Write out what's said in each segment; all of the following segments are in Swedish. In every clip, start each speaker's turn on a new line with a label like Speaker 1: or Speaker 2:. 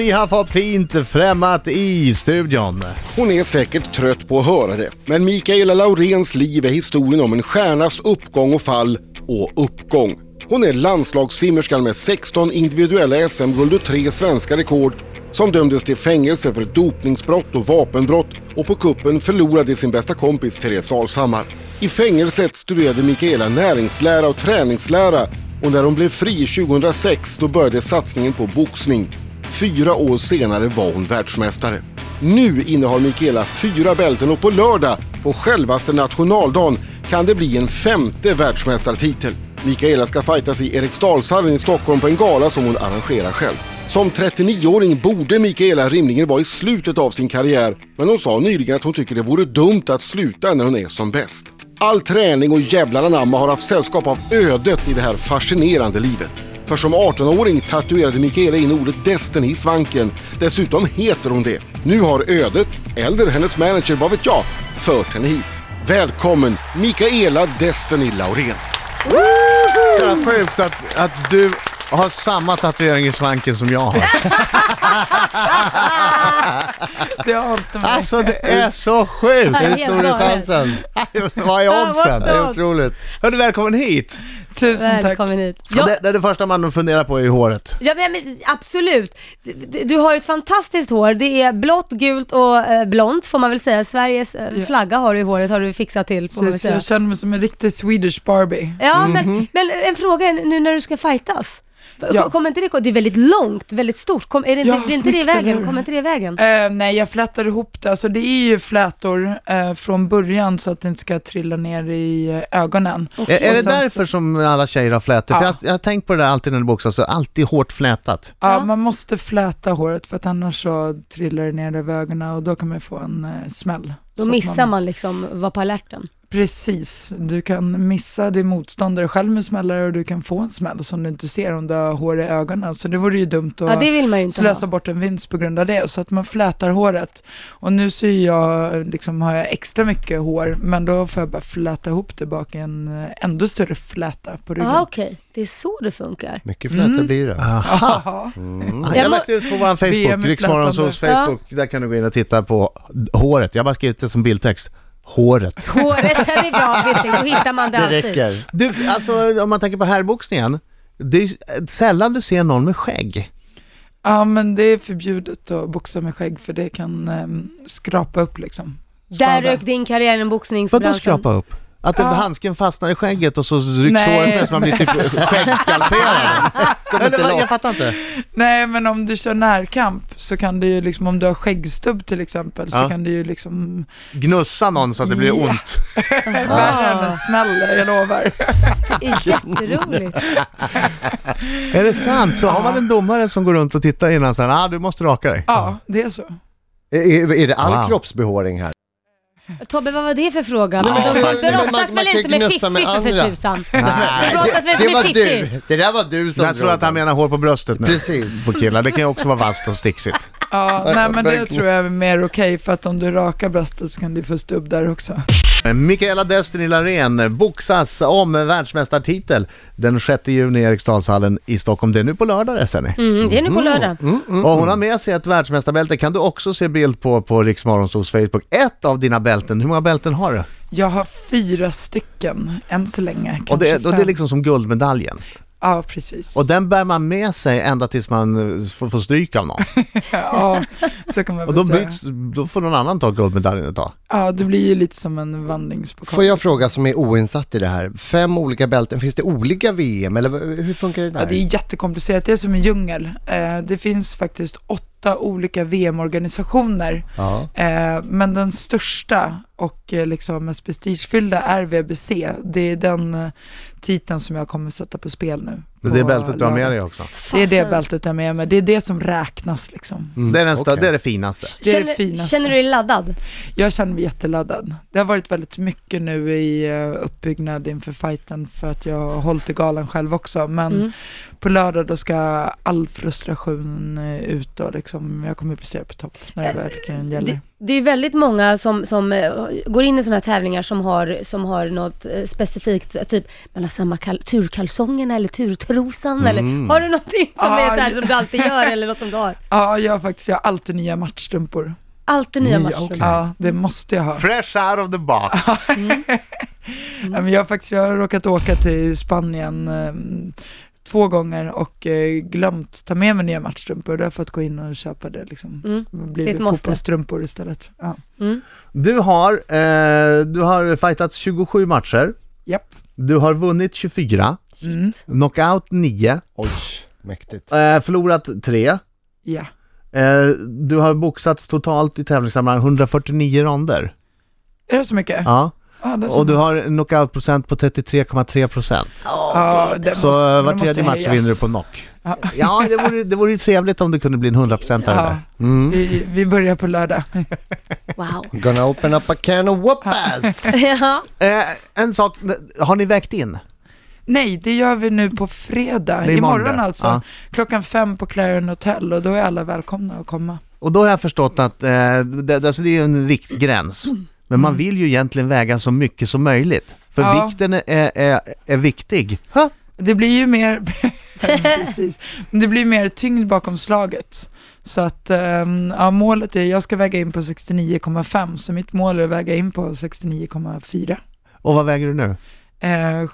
Speaker 1: Vi har fått fint främmat i studion.
Speaker 2: Hon är säkert trött på att höra det, men Mikaela Laurens liv är historien om en stjärnas uppgång och fall och uppgång. Hon är landslagssimmerskan med 16 individuella SM-guld och tre svenska rekord som dömdes till fängelse för dopningsbrott och vapenbrott och på kuppen förlorade sin bästa kompis Therese Alshammar. I fängelset studerade Mikaela näringslära och träningslära och när hon blev fri 2006 då började satsningen på boxning. Fyra år senare var hon världsmästare. Nu innehar Mikaela fyra bälten och på lördag, på självaste nationaldagen, kan det bli en femte världsmästartitel. Mikaela ska fightas i Eriksdalshallen i Stockholm på en gala som hon arrangerar själv. Som 39-åring borde Mikaela rimligen vara i slutet av sin karriär, men hon sa nyligen att hon tycker det vore dumt att sluta när hon är som bäst. All träning och jävlar anamma har haft sällskap av ödet i det här fascinerande livet. För som 18-åring tatuerade Mikaela in ordet Destiny i svanken. Dessutom heter hon det. Nu har ödet, eller hennes manager, vad vet jag, fört henne hit. Välkommen Mikaela Destiny Laurén.
Speaker 1: Så jävla sjukt att, att du har samma tatuering i svanken som jag har.
Speaker 3: Det har inte mig.
Speaker 1: Alltså det är så sjukt!
Speaker 4: Ja,
Speaker 1: Hur
Speaker 4: helt
Speaker 1: stor är
Speaker 4: galet.
Speaker 1: chansen? Vad är oddsen? Det är
Speaker 4: odds?
Speaker 1: otroligt. Hörru, välkommen hit!
Speaker 3: Tusen tack.
Speaker 4: Välkommen hit.
Speaker 1: Ja.
Speaker 4: Ja,
Speaker 1: Det, det är det första man funderar på i håret.
Speaker 4: ja men, men absolut. Du, du har ju ett fantastiskt hår. Det är blått, gult och eh, blont får man väl säga. Sveriges eh,
Speaker 3: Ja.
Speaker 4: flagga har du i håret, har du fixat till får man väl
Speaker 3: Precis,
Speaker 4: säga.
Speaker 3: jag känner mig som en riktig Swedish Barbie.
Speaker 4: Ja, men, men eh, en fråga är nu när du ska fightas.
Speaker 3: Ja.
Speaker 4: Kommer inte det, det är väldigt långt, väldigt stort. Kom, är det inte,
Speaker 3: Ja,
Speaker 4: blir inte det i
Speaker 3: snyggt, eller
Speaker 4: vägen?
Speaker 3: hur?
Speaker 4: Kommer inte det i vägen?
Speaker 3: Eh, nej, jag flätar ihop det. Alltså, det är ju flätor eh, från början så att det inte ska trilla ner i eh, ögonen.
Speaker 1: Är, är
Speaker 3: Och
Speaker 1: det
Speaker 3: sen så-
Speaker 1: därför som alla tjejer har flätor? För
Speaker 3: Ja.
Speaker 1: jag, jag har tänkt på det där alltid när du boxar, så alltid hårt flätat.
Speaker 3: Ja,
Speaker 4: Ja.
Speaker 3: man måste fläta håret för att annars så trillar det ner över ögonen och då kan man få en eh, smäll. Så
Speaker 4: Då
Speaker 3: att
Speaker 4: missar man liksom, var på alerten.
Speaker 3: Precis, du kan missa din motståndare själv med smällare och du kan få en smäll som du inte ser om du har hår i ögonen. Så det vore ju dumt att...
Speaker 4: Ja, det vill man ju inte
Speaker 3: slösa
Speaker 4: ha.
Speaker 3: bort en vinst på grund av det. Så att man flätar håret. Och nu så är jag, liksom, har jag extra mycket hår, men då får jag bara fläta ihop det bak i en eh, ändå större fläta på ryggen.
Speaker 4: Ja, Ah, okej. Det är så det funkar.
Speaker 5: Mycket flätor
Speaker 1: Mm.
Speaker 5: blir det.
Speaker 1: Ah.
Speaker 3: Aha.
Speaker 5: Mm.
Speaker 1: Jag har
Speaker 4: Jag må-
Speaker 1: lagt ut på vår
Speaker 3: VM
Speaker 1: Facebook,
Speaker 3: är
Speaker 1: Riksmorgonsols
Speaker 3: flätande.
Speaker 1: Facebook, där kan du gå in och titta på håret. Jag har bara skrivit det som bildtext. Håret.
Speaker 4: Håret, det är bra, vet du. Då hittar man det,
Speaker 5: Det
Speaker 4: alltid.
Speaker 5: räcker.
Speaker 1: Du, alltså om man tänker på herrboxningen, det är ju sällan du ser någon med skägg.
Speaker 3: Ja, men det är förbjudet att boxa med skägg för det kan ehm, skrapa upp liksom.
Speaker 4: Där
Speaker 3: Skada.
Speaker 4: rök din karriär inom boxningsbranschen.
Speaker 1: Vadå skrapa upp? Att
Speaker 3: Ja.
Speaker 1: handsken fastnar i skägget och så rycks
Speaker 3: Nej.
Speaker 1: håret med så man blir typ skäggskalperad. Eller vad? Jag fattar inte.
Speaker 3: Nej, men om du kör närkamp så kan du ju liksom, om du har skäggstubb till exempel, så
Speaker 1: Ja.
Speaker 3: kan du ju liksom
Speaker 1: Gnussa någon så att det blir
Speaker 3: Ja.
Speaker 1: ont.
Speaker 4: Ah.
Speaker 3: värre än en smäll, jag lovar.
Speaker 4: Det är jätteroligt.
Speaker 1: Är det sant? Så har man en domare som går runt och tittar innan sen, ah du måste raka dig.
Speaker 3: Ja, det är så.
Speaker 5: Är, är det all
Speaker 1: Wow.
Speaker 5: kroppsbehåring här?
Speaker 4: Tobbe, vad var det för fråga?
Speaker 5: Nej,
Speaker 4: Men
Speaker 5: men
Speaker 4: de
Speaker 5: man- man-
Speaker 4: brottas
Speaker 5: man
Speaker 4: väl
Speaker 5: kan
Speaker 4: inte med
Speaker 5: gnussa
Speaker 4: fiffi
Speaker 5: med
Speaker 4: för
Speaker 5: andra.
Speaker 4: tusan?
Speaker 1: Nej,
Speaker 4: De brottas väl
Speaker 5: det
Speaker 4: inte med
Speaker 5: var
Speaker 4: fiffi?
Speaker 5: du! Det där var du som
Speaker 1: Jag tror att han menar hår på bröstet nu.
Speaker 5: Precis.
Speaker 1: På killar, det kan ju också vara vasst och sticksigt.
Speaker 3: Ja, nej men det
Speaker 5: verkligen.
Speaker 3: tror jag är mer okej för att om du rakar bröstet så kan du få stubb där också.
Speaker 1: Mikaela Destiny Larén boxas om världsmästartitel den 6 juni i Eriksdalshallen i Stockholm. Det är nu på lördag det ser ni.
Speaker 4: Mm, det är nu på lördag.
Speaker 1: Och hon har med sig ett världsmästarbälte, kan du också se bild på på Riksmorgonsols Facebook. Ett av dina bälten, hur många bälten har du?
Speaker 3: Jag har fyra stycken än så länge. Kanske
Speaker 1: Och det, är- och det är
Speaker 3: fem.
Speaker 1: liksom som guldmedaljen.
Speaker 3: Ja, precis.
Speaker 1: Och den bär man med sig ända tills man eh, får, får stryk av någon.
Speaker 3: ja, så kan man
Speaker 1: Och
Speaker 3: väl
Speaker 1: då,
Speaker 3: säga.
Speaker 1: byts, då får någon annan ta guldmedaljen ett tag.
Speaker 3: Ja, det blir ju lite som en liksom. vandringspokal.
Speaker 5: Får jag fråga som är oinsatt i det här, fem olika bälten, finns det olika VM eller v- hur funkar det där?
Speaker 3: Ja, det är jättekomplicerat. Det är som en djungel. Eh, det finns faktiskt åtta olika VM-organisationer.
Speaker 5: Ja.
Speaker 3: Eh, men den största och eh, liksom mest prestigefyllda är VBC. Det är den eh, titeln som jag kommer sätta på spel nu.
Speaker 1: Det är det
Speaker 3: på
Speaker 1: bältet du har med
Speaker 3: lördag.
Speaker 1: dig också.
Speaker 3: Det är det
Speaker 4: Fasen.
Speaker 3: bältet jag har med mig. Det är det som räknas liksom.
Speaker 1: Det är, den stö-
Speaker 5: okej.
Speaker 1: det är det finaste.
Speaker 3: Det är det
Speaker 4: Känner,
Speaker 3: finaste.
Speaker 4: känner du dig laddad?
Speaker 3: Jag känner mig jätteladdad. Det har varit väldigt mycket nu i eh, uppbyggnad inför fighten för att jag har hållit i galan själv också. Men
Speaker 4: Mm.
Speaker 3: på lördag då ska all frustration eh, ut och liksom, jag kommer prestera på topp när det
Speaker 4: Eh,
Speaker 3: verkligen
Speaker 4: Det,
Speaker 3: gäller.
Speaker 4: det är väldigt många som, som eh, går in i sådana här tävlingar som har, som har något eh, specifikt, typ man har samma kal- alltså, turkalsongerna eller turtröjorna rosan eller har du någonting som är så här
Speaker 3: Aj.
Speaker 4: som du alltid gör eller något som du har?
Speaker 3: Ja, jag har faktiskt, jag har alltid nya matchstrumpor.
Speaker 4: Alltid nya
Speaker 5: Nya,
Speaker 4: matchstrumpor.
Speaker 5: okej.
Speaker 3: Ja, det måste jag ha.
Speaker 1: Fresh out of the box.
Speaker 4: Mm.
Speaker 3: Ja, men Jag har faktiskt jag har råkat åka till Spanien ehm, två gånger och eh, glömt ta med mig nya matchstrumpor. Då har jag fått gå in och köpa det liksom. Blir
Speaker 4: Det är
Speaker 3: det
Speaker 4: ett måste.
Speaker 3: fotbollsstrumpor istället. Ja.
Speaker 4: mm.
Speaker 1: Du har, eh, du har fightats 27 matcher.
Speaker 3: Japp.
Speaker 1: Du har vunnit 24,
Speaker 3: Mm.
Speaker 1: knockout 9, eh,
Speaker 5: Oj, mäktigt.
Speaker 1: förlorat 3. Eh,
Speaker 3: Ja.
Speaker 1: du har boxats totalt i tävlingssammanhang 149 ronder.
Speaker 3: Är det så mycket?
Speaker 1: Ja.
Speaker 3: Ja, det är så
Speaker 1: Och du har en knockoutprocent på 33,3%.
Speaker 3: Ja, det
Speaker 1: Så
Speaker 3: måste-
Speaker 1: eh,
Speaker 3: det
Speaker 1: var
Speaker 3: Alltså, måste
Speaker 1: tredje match
Speaker 3: höjas.
Speaker 1: vinner du på knock.
Speaker 3: Ja.
Speaker 1: Ja, det vore, det vore ju trevligt om det kunde bli en 100% här
Speaker 3: Ja,
Speaker 1: eller?
Speaker 3: vi, vi börjar på lördag.
Speaker 4: Wow.
Speaker 5: Gonna open up a can of whoppas!
Speaker 4: ja.
Speaker 1: eh, En sak, har ni vägt in?
Speaker 3: Nej, det gör vi nu på fredag.
Speaker 1: Det är
Speaker 3: Imorgon
Speaker 1: måndag.
Speaker 3: alltså.
Speaker 1: Ja.
Speaker 3: Klockan fem på Clarion Hotel och då är alla välkomna att komma.
Speaker 1: Och då har jag förstått att eh, det, det- alltså det är ju en viktgräns. Men man vill ju egentligen väga så mycket som möjligt. För
Speaker 3: Mm. Ja.
Speaker 1: vikten är, är, är viktig.
Speaker 3: Det blir ju mer, precis, Men det blir mer tyngd bakom slaget. Så att ehm, ja, målet är, jag ska väga in på 69,5 så mitt mål är att väga in på 69,4.
Speaker 1: Och vad väger du nu?
Speaker 3: Eh,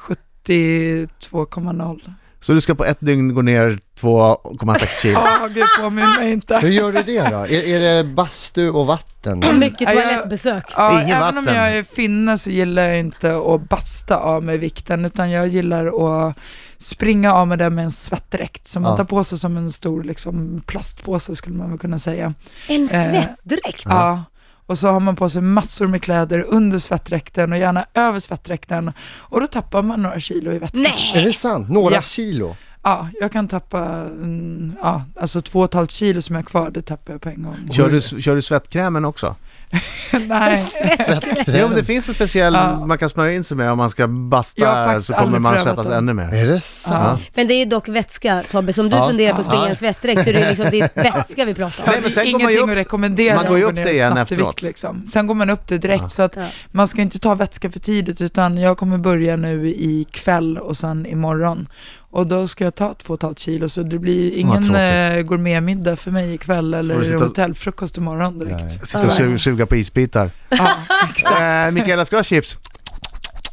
Speaker 3: 72,0.
Speaker 1: Så du ska på ett dygn gå ner 2,6 kilo.
Speaker 3: Åh gud, påminn mig
Speaker 5: Hur
Speaker 3: inte.
Speaker 5: gör du det då? Är, är det bastu och vatten?
Speaker 4: Mycket
Speaker 3: Ja, jag-
Speaker 4: toalettbesök.
Speaker 3: Ja,
Speaker 1: Ingen
Speaker 3: även om
Speaker 1: vatten.
Speaker 3: jag är finne så gillar jag inte att basta av mig vikten utan jag gillar att springa av mig det med en svettdräkt som man
Speaker 5: Ja.
Speaker 3: tar på sig som en stor liksom, plastpåse skulle man väl kunna säga.
Speaker 4: En
Speaker 3: Eh,
Speaker 4: svettdräkt.
Speaker 3: Ja. Och så har man på sig massor med kläder under svettdräkten och gärna över svettdräkten. Och då tappar man några kilo i vätska.
Speaker 4: Nej!
Speaker 5: Är det sant? Några
Speaker 3: Ja.
Speaker 5: kilo?
Speaker 3: Ja, jag kan tappa, mm, ja, alltså två och ett halvt kilo som jag har kvar, det tappar jag på en gång.
Speaker 1: Kör du, kör du svettkrämen också?
Speaker 3: Nej,
Speaker 1: Jo men det finns en speciell
Speaker 3: Ja.
Speaker 1: man kan smörja in sig med om man ska
Speaker 3: Jag har
Speaker 1: basta
Speaker 3: faktiskt
Speaker 1: så kommer
Speaker 3: aldrig
Speaker 1: man
Speaker 3: prövat
Speaker 1: svettas
Speaker 3: den.
Speaker 1: ännu mer.
Speaker 5: Är det sant?
Speaker 4: Men det är dock vätska Tobbe, så om du
Speaker 5: Ja.
Speaker 4: funderar på att springa
Speaker 1: Ja.
Speaker 4: en svettdräkt så är det liksom det är vätska vi pratar om.
Speaker 1: Nej, men sen går man ju
Speaker 3: ingenting
Speaker 1: upp-
Speaker 3: att rekommendera.
Speaker 1: man går ju
Speaker 3: att
Speaker 1: upp
Speaker 3: ner
Speaker 1: det igen
Speaker 3: snabbt i
Speaker 1: efteråt.
Speaker 3: vikt, liksom. Sen går man upp det direkt, så att
Speaker 4: Ja.
Speaker 3: man ska inte ta vätska för tidigt, utan jag kommer börja nu ikväll och sen imorgon. Och då ska jag ta två och ett halvt kilo, så det blir ingen
Speaker 1: tråkigt.
Speaker 3: eh, gourmetmiddag för mig ikväll eller
Speaker 1: du sitta-
Speaker 3: hotellfrukost imorgon direkt.
Speaker 1: Sitta och su- suga på isbitar.
Speaker 3: Ja,
Speaker 1: Eh, Mikaela, ska du ha chips?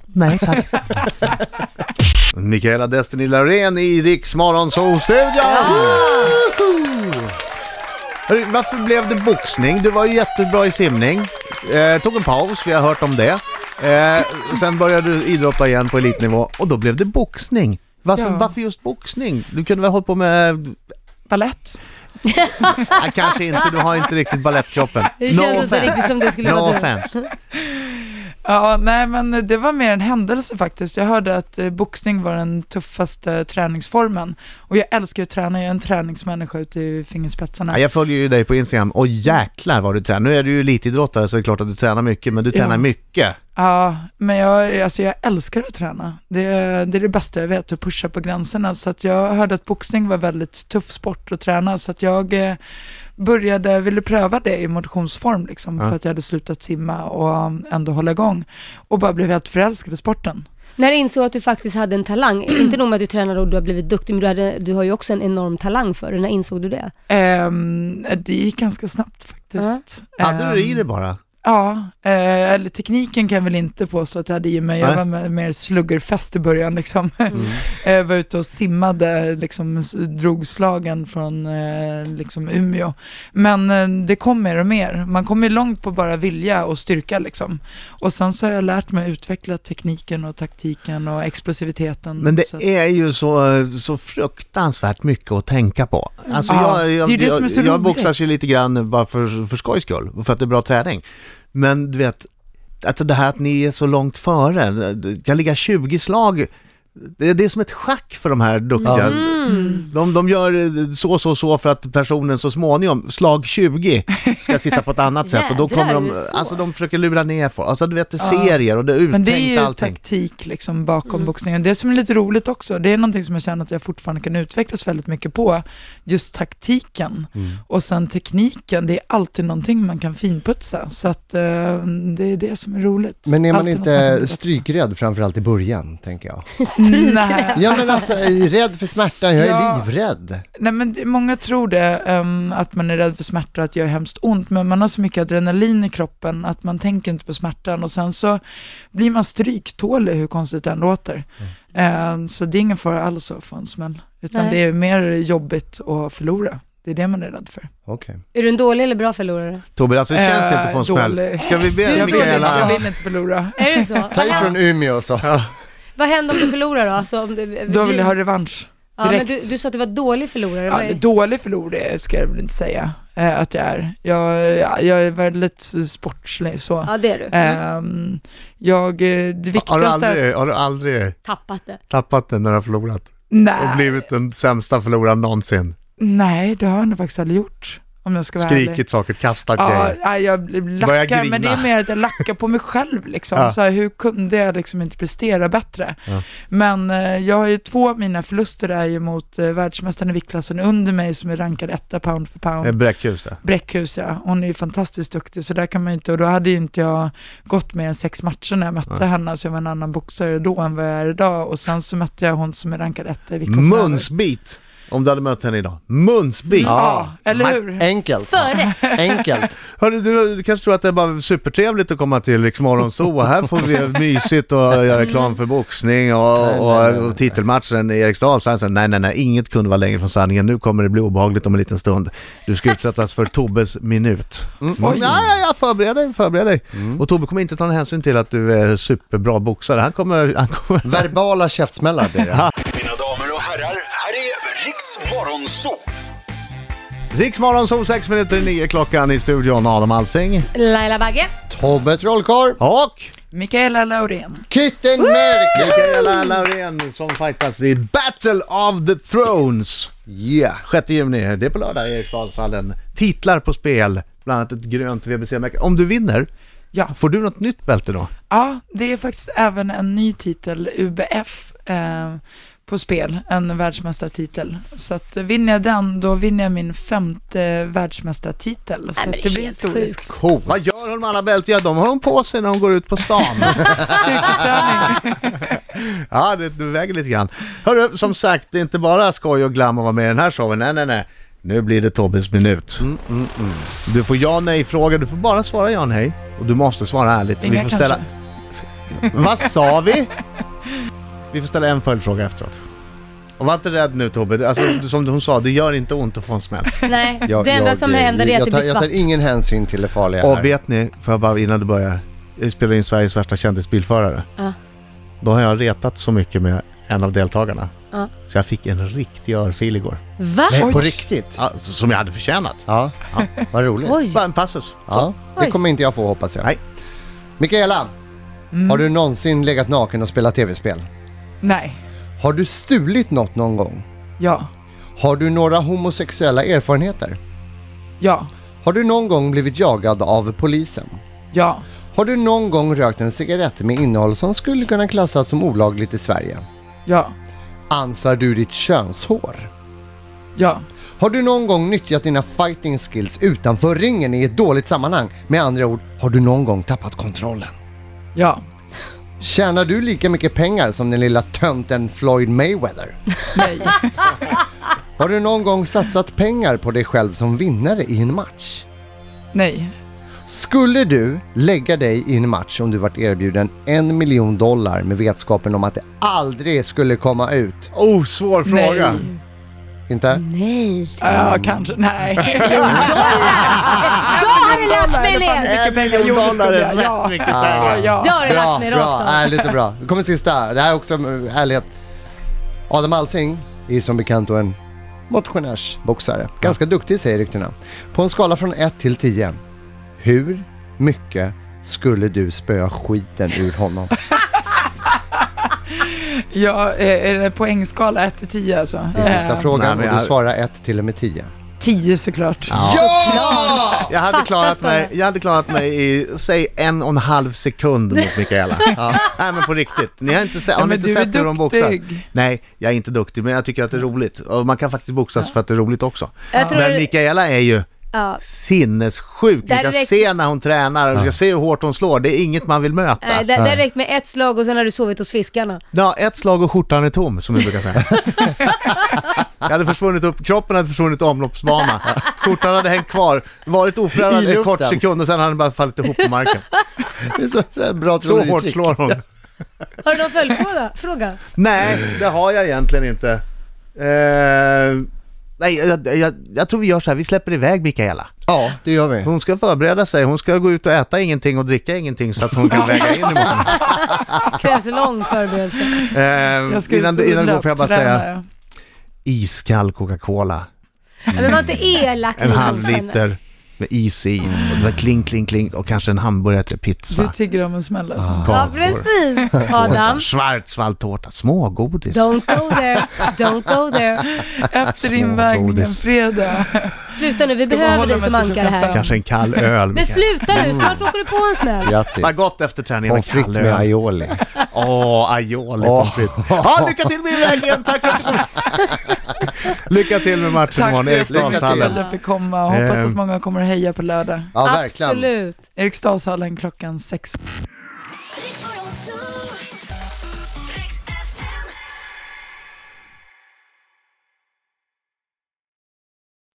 Speaker 1: Nej tack. Mikaela Destiny Laurén i Riks Morgonzoo-studion! Hörru, Varför blev det boxning? Du var ju jättebra i simning. Eh, tog en paus, vi har hört om det. Eh, sen började du idrotta igen på elitnivå och då blev det boxning. Varför,
Speaker 3: Ja.
Speaker 1: varför just boxning? Du kunde väl hållit på med...
Speaker 3: Balett.
Speaker 1: Nej, kanske inte, du har inte riktigt balettkroppen.
Speaker 4: Det känns inte riktigt som det skulle
Speaker 1: No
Speaker 4: vara du.
Speaker 1: offense.
Speaker 3: Ja, nej men det var mer en händelse faktiskt. Jag hörde att eh, boxning var den tuffaste träningsformen. Och jag älskar ju att träna, jag är en träningsmänniska ut i fingerspetsarna.
Speaker 1: Ja, jag följer ju dig på Instagram och jäklar vad du tränar. Nu är du ju elitidrottare så det är klart att du tränar mycket, men du tränar
Speaker 3: Ja.
Speaker 1: mycket.
Speaker 3: Ja, men jag, alltså jag älskar att träna. Det, det är det bästa jag vet, att pusha på gränserna. Så att jag hörde att boxning var väldigt tuff sport att träna, så att jag eh, började, ville pröva det i motionsform liksom, för att jag hade slutat simma och um, ändå hålla igång. Och bara blev helt förälskad i sporten.
Speaker 4: När du insåg att du faktiskt hade en talang, inte nog med att du tränade och du har blivit duktig, men du, hade, du har ju också en enorm talang för det. När insåg du det?
Speaker 3: Ehm, det gick ganska snabbt faktiskt.
Speaker 1: Hade du det i
Speaker 3: Ehm,
Speaker 1: dig bara?
Speaker 3: Ja, eh, eller tekniken kan jag väl inte påstå att jag hade i mig.
Speaker 1: Nej. Mm.
Speaker 3: Jag var med, mer sluggerfest i början liksom. jag var ute och simmade, liksom, s- drog slagen från eh, liksom Umeå. Men eh, det kom mer och mer. Man kommer ju långt på bara vilja och styrka liksom. Och sen så har jag lärt mig att utveckla tekniken och taktiken och explosiviteten.
Speaker 1: Men det
Speaker 3: så att-
Speaker 1: är ju så, så fruktansvärt mycket att tänka på. Alltså
Speaker 3: Ja,
Speaker 1: jag,
Speaker 3: det är
Speaker 1: jag,
Speaker 3: ju det som är
Speaker 1: jag,
Speaker 3: så
Speaker 1: jag
Speaker 3: roligt.
Speaker 1: boxas ju lite grann bara för, för skojs skull, för att det är bra träning. Men du vet, att det här att ni är så långt före, det kan ligga 20 slag det det är som ett schack för de här duktiga. De, de gör eh, så, så, så för att personen så småningom, slag 20, ska sitta på ett annat sätt. Och då
Speaker 4: Jädrar,
Speaker 1: kommer
Speaker 4: är
Speaker 1: de,
Speaker 4: det så?
Speaker 1: alltså de försöker lura ner folk. Alltså du vet, det är serier och det är uttänkt
Speaker 3: Men det är ju
Speaker 1: allting.
Speaker 3: taktik liksom bakom boxningen. Det som är lite roligt också, det är någonting som jag känner att jag fortfarande kan utvecklas väldigt mycket på. Just taktiken
Speaker 5: Mm.
Speaker 3: och sen tekniken, det är alltid någonting man kan finputsa. Så att eh, det är det som är roligt.
Speaker 5: Men är man
Speaker 3: Alltid något kan
Speaker 5: inte
Speaker 3: förbättra.
Speaker 5: strykrädd framförallt i början, tänker jag?
Speaker 3: Nej.
Speaker 4: stryk det.
Speaker 5: Ja men alltså, jag är rädd för smärta, jag är
Speaker 3: Ja.
Speaker 5: livrädd.
Speaker 3: Nej, men det- många tror det, ehm, att man är rädd för smärta och att det gör hemskt ont, men man har så mycket adrenalin i kroppen att man tänker inte på smärtan och sen så blir man stryktålig, hur konstigt det än låter.
Speaker 1: Mm.
Speaker 3: Ehm, så det är ingen fara alls att få en smäll, utan
Speaker 4: Nej.
Speaker 3: det är mer jobbigt att förlora. Det är det man är rädd för.
Speaker 5: Okej.
Speaker 4: Är du en dålig eller bra förlorare?
Speaker 1: Tobbe, alltså det känns inte att få en
Speaker 3: Eh,
Speaker 1: smäll.
Speaker 3: dålig.
Speaker 1: Ska vi
Speaker 4: Du är
Speaker 1: be
Speaker 4: dålig.
Speaker 3: Jag
Speaker 1: Mikaela...
Speaker 3: vill inte förlora.
Speaker 4: Är det så?
Speaker 5: Ta
Speaker 4: Vad,
Speaker 5: ifrån
Speaker 4: hän-
Speaker 5: Umeå så.
Speaker 4: vad händer om du förlorar då? Alltså, om du,
Speaker 3: Då vill jag ha revansch.
Speaker 4: ja, men
Speaker 3: direkt.
Speaker 4: du, du sa att du var dålig förlorare.
Speaker 3: Ja,
Speaker 4: Vad är-
Speaker 3: dålig förlorare ska jag väl inte säga eh, att jag är. Jag, jag, jag är väldigt sportslig så.
Speaker 4: ja det är du.
Speaker 3: Ehm, jag, eh, det viktigaste
Speaker 1: Har du,
Speaker 3: är att-
Speaker 1: aldrig, har du aldrig
Speaker 4: Tappat det.
Speaker 1: tappat den när du har förlorat? Och
Speaker 3: nej,
Speaker 1: blivit den sämsta förloraren någonsin?
Speaker 3: nej, det har jag nog faktiskt aldrig gjort. Om jag ska vara ärlig.
Speaker 1: Skrikit saker, kastat
Speaker 3: Ja,
Speaker 1: grejer.
Speaker 3: nej, jag
Speaker 1: Börjar
Speaker 3: lackar, men det
Speaker 1: grina.
Speaker 3: är mer att jag lackar på mig själv liksom.
Speaker 1: Ja.
Speaker 3: Så här, hur kunde jag liksom inte prestera bättre?
Speaker 1: Ja.
Speaker 3: Men eh, jag har ju två av mina förluster är ju mot eh, världsmästaren i viktklassen under mig som är rankad etta pound för pound.
Speaker 1: Eh, Bräckhus det.
Speaker 3: Bräckhus ja, hon är ju fantastiskt duktig så där kan man ju inte, och då hade ju inte jag gått mer än sex matcher när jag mötte henne, så jag var en annan boxare då än vad jag är idag och sen så mötte jag hon som är rankad etta i viktklassen över.
Speaker 1: Munsbit! Om du hade mött henne idag. Munsbit!
Speaker 3: Ja, eller hur?
Speaker 5: Enkelt.
Speaker 4: Förrätt.
Speaker 5: Enkelt.
Speaker 1: Hörru, du, du kanske tror att det är bara supertrevligt att komma till Rix Morgon Zoo. Här får vi mysigt och göra reklam för boxning och,
Speaker 5: nej, nej,
Speaker 1: och, och titelmatchen i Eriksdal. Så han sa, nej, nej, nej, inget kunde vara längre från sanningen. Nu kommer det bli obehagligt om en liten stund. Du ska utsättas för Tobbes minut. Och, ja, ja, ja, förbered dig, förbered dig. Och Tobbe kommer inte ta någon hänsyn till att du är superbra boxare. Han kommer, han kommer
Speaker 5: Verbala käftsmällar blir det.
Speaker 6: Mina damer och herrar, här är Riks Morgonzoo!
Speaker 1: Riksmorgon som sex minuter i nio klockan i studion. Adam Alsing
Speaker 4: Laila Bagge.
Speaker 5: Tobbe Trollkarl.
Speaker 1: och
Speaker 3: Mikaela Laurén.
Speaker 5: Kitten Merk.
Speaker 1: Mikaela Laurén som fightas i Battle of the Thrones.
Speaker 5: Yeah.
Speaker 1: 6 juni, det är på lördag i Eriksdalshallen. Titlar på spel, bland annat ett grönt VBC-märke. Om du vinner,
Speaker 3: Ja.
Speaker 1: får du något nytt bälte då?
Speaker 3: ja, det är faktiskt även en ny titel, UBF, eh, på spel, en världsmästartitel. Så att eh, vinner jag den, då vinner jag min femte världsmästartitel. Så
Speaker 4: men
Speaker 3: att
Speaker 4: det är
Speaker 3: det blir
Speaker 4: helt
Speaker 3: historiskt.
Speaker 5: Cool.
Speaker 1: Vad gör hon med alla bälten? Ja, de har hon på sig när hon går ut på stan.
Speaker 3: Styrketräning.
Speaker 1: ja, det, du väger lite grann. Hörru, som sagt, det är inte bara skoj och glam att vara med i den här showen. Nej, nej, nej. Nu blir det Tobbes minut. Du får ja nej-fråga. Du får bara svara ja nej. Och du måste svara ärligt.
Speaker 3: Inga
Speaker 1: får ställa... Vad sa vi? Vi får ställa en följdfråga efteråt. Och var inte rädd nu Tobbe. Alltså, som hon sa, det gör inte ont att få en smäll.
Speaker 4: Nej,
Speaker 5: Jag-
Speaker 4: det enda
Speaker 5: jag-
Speaker 4: som händer är
Speaker 5: jag
Speaker 4: att det
Speaker 5: tar-
Speaker 4: blir
Speaker 5: Jag
Speaker 4: svart.
Speaker 5: tar ingen hänsyn till det farliga
Speaker 1: Och
Speaker 5: här.
Speaker 1: vet ni, för jag bara innan du börjar. Jag spelar in Sveriges värsta kändisbilförare.
Speaker 4: Ja.
Speaker 1: Då har jag retat så mycket med en av deltagarna.
Speaker 4: Ja.
Speaker 1: Så jag fick en riktig örfil igår.
Speaker 4: Va?
Speaker 5: Nej, på
Speaker 3: Oj.
Speaker 5: riktigt?
Speaker 1: Ja, s- som jag hade förtjänat.
Speaker 5: Ja, vad roligt.
Speaker 4: Oj.
Speaker 1: Bara en passus.
Speaker 5: Ja, det
Speaker 4: Oj.
Speaker 5: kommer inte jag få hoppas jag.
Speaker 1: Nej.
Speaker 5: Mikaela, har du någonsin legat naken och spelat tv-spel?
Speaker 3: Nej,
Speaker 5: Har du stulit något någon gång?
Speaker 3: ja,
Speaker 5: Har du några homosexuella erfarenheter?
Speaker 3: ja,
Speaker 5: Har du någon gång blivit jagad av polisen?
Speaker 3: ja,
Speaker 5: Har du någon gång rökt en cigarett med innehåll som skulle kunna klassas som olagligt i Sverige?
Speaker 3: ja,
Speaker 5: Ansar du ditt könshår?
Speaker 3: ja,
Speaker 5: Har du någon gång nyttjat dina fighting skills utanför ringen i ett dåligt sammanhang? Med andra ord, har du någon gång tappat kontrollen?
Speaker 3: ja.
Speaker 5: Tjänar du lika mycket pengar som den lilla tönten Floyd Mayweather?
Speaker 3: Nej,
Speaker 5: Har du någon gång satsat pengar på dig själv som vinnare i en match?
Speaker 3: nej,
Speaker 5: Skulle du lägga dig i en match om du vart erbjuden en miljon dollar med vetskapen om att det aldrig skulle komma ut?
Speaker 1: Oh, svår fråga.
Speaker 3: nej.
Speaker 5: Inte?
Speaker 4: Nej.
Speaker 3: Ja, kanske. Nej.
Speaker 4: Ah, Jag hade lagt mig ner!
Speaker 3: mycket pengar
Speaker 1: miljon
Speaker 3: gjorde
Speaker 1: dollar
Speaker 3: skulle
Speaker 1: är
Speaker 3: jag.
Speaker 1: rätt
Speaker 3: Ja.
Speaker 1: mycket
Speaker 5: Ja.
Speaker 1: pengar.
Speaker 4: Jag
Speaker 3: Ja.
Speaker 4: hade lagt
Speaker 5: Bra,
Speaker 4: mig rakt
Speaker 5: bra.
Speaker 4: av.
Speaker 5: Äh, lite bra. Nu kommer sista. Det här är också eh, ärlighet. Adam Alsing är som bekant då en motionärsboxare. Ganska duktig säger ryktena. På en skala från 1 till 10. Hur mycket skulle du spöa skiten ur honom?
Speaker 3: Ja, eh, är det poängskala 1 till 10 alltså?
Speaker 5: Det är sista
Speaker 3: Eh,
Speaker 5: frågan
Speaker 1: Nej, men
Speaker 5: och du
Speaker 1: jag-
Speaker 5: svarar 1 till och med 10.
Speaker 3: 10 såklart.
Speaker 1: Jag hade,
Speaker 4: Fattas
Speaker 1: klarat
Speaker 4: bara.
Speaker 1: mig, jag hade klarat mig i, säg en och en halv sekund mot Mikaela. Ja. Nej men på riktigt, ni har inte, se, har
Speaker 3: Ja,
Speaker 1: ni
Speaker 3: men
Speaker 1: inte
Speaker 3: du är
Speaker 1: sett hur de boxar?
Speaker 3: duktig.
Speaker 1: Nej, jag är inte duktig men jag tycker att det är roligt. Och man kan faktiskt boxas för att det är roligt också.
Speaker 4: Jag tror-
Speaker 1: Men Mikaela är ju
Speaker 4: Ja.
Speaker 1: sinnessjuk. Du
Speaker 4: Där
Speaker 1: ska
Speaker 4: räcker-
Speaker 1: se när hon tränar, du ska se hur hårt hon slår. Det är inget man vill möta.
Speaker 4: Nej, det, det räckt med ett slag och sen har du sovit hos fiskarna.
Speaker 1: Ja, ett slag och skjortan är tom, som vi brukar säga. Jag hade försvunnit upp, kroppen hade försvunnit i omloppsbana. Skjortan hade hängt kvar, varit
Speaker 5: I
Speaker 1: oförändrad en
Speaker 5: luften.
Speaker 1: kort sekund och sen hade den bara fallit ihop på marken.
Speaker 5: Det är så, så här bra
Speaker 1: Så
Speaker 5: trolleritrick.
Speaker 1: hårt slår hon.
Speaker 4: Har du någon följdfråga? Fråga?
Speaker 1: Nej, det har jag egentligen inte. Eh, nej, jag, jag, jag tror vi gör så här, vi släpper iväg Mikaela.
Speaker 5: Ja, det gör vi.
Speaker 1: Hon ska förbereda sig, hon ska gå ut och äta ingenting och dricka ingenting så att hon kan väga in imorgon.
Speaker 4: Krävs en lång förberedelse.
Speaker 5: Mm.
Speaker 1: Eh,
Speaker 3: Jag ska
Speaker 1: innan
Speaker 3: ut och
Speaker 1: det- innan det går får jag bara
Speaker 3: löpträna,
Speaker 1: säga,
Speaker 3: ja.
Speaker 1: iskall Coca-Cola.
Speaker 4: Nej, Men var inte elak
Speaker 1: En
Speaker 4: mot
Speaker 1: halv
Speaker 4: henne.
Speaker 1: liter med is i och det var kling, kling, kling och kanske en hamburgare till
Speaker 3: Du
Speaker 1: pizza.
Speaker 3: tigger om en smäll alltså.
Speaker 4: Ja, precis. Adam.
Speaker 1: Schwarzwaldtårta, smågodis.
Speaker 4: Don't go there, don't go there.
Speaker 3: Efter
Speaker 1: Ah. Små
Speaker 3: invägningen
Speaker 1: godis.
Speaker 3: fredag.
Speaker 4: Sluta nu, vi
Speaker 3: Ska bara
Speaker 4: behöver
Speaker 3: hålla
Speaker 4: dig
Speaker 3: mig
Speaker 4: som
Speaker 3: till
Speaker 4: ankar
Speaker 3: klockan
Speaker 4: här.
Speaker 3: fem.
Speaker 1: Kanske en kall öl.
Speaker 4: Men
Speaker 1: Mikael.
Speaker 4: sluta nu,
Speaker 5: Mm.
Speaker 4: snart åker du på en smäll.
Speaker 5: Grattis.
Speaker 1: Vad gott efter träningen med
Speaker 5: Pommes frites
Speaker 1: kall
Speaker 5: med
Speaker 1: öl.
Speaker 5: aioli.
Speaker 1: Åh, aioli
Speaker 5: Åh.
Speaker 1: pommes frites. Ja, lycka till med invägningen. Tack för att du kom. Lycka till med matchen
Speaker 3: Tack
Speaker 1: imorgon
Speaker 3: så
Speaker 1: i
Speaker 3: jättemycket att
Speaker 1: Eriksdalshallen.
Speaker 3: jag fick komma. Hoppas
Speaker 1: Eh.
Speaker 3: att många kommer att heja på lördag.
Speaker 5: Ja, verkligen.
Speaker 4: Absolut.
Speaker 3: Eriksdalshallen klockan sex.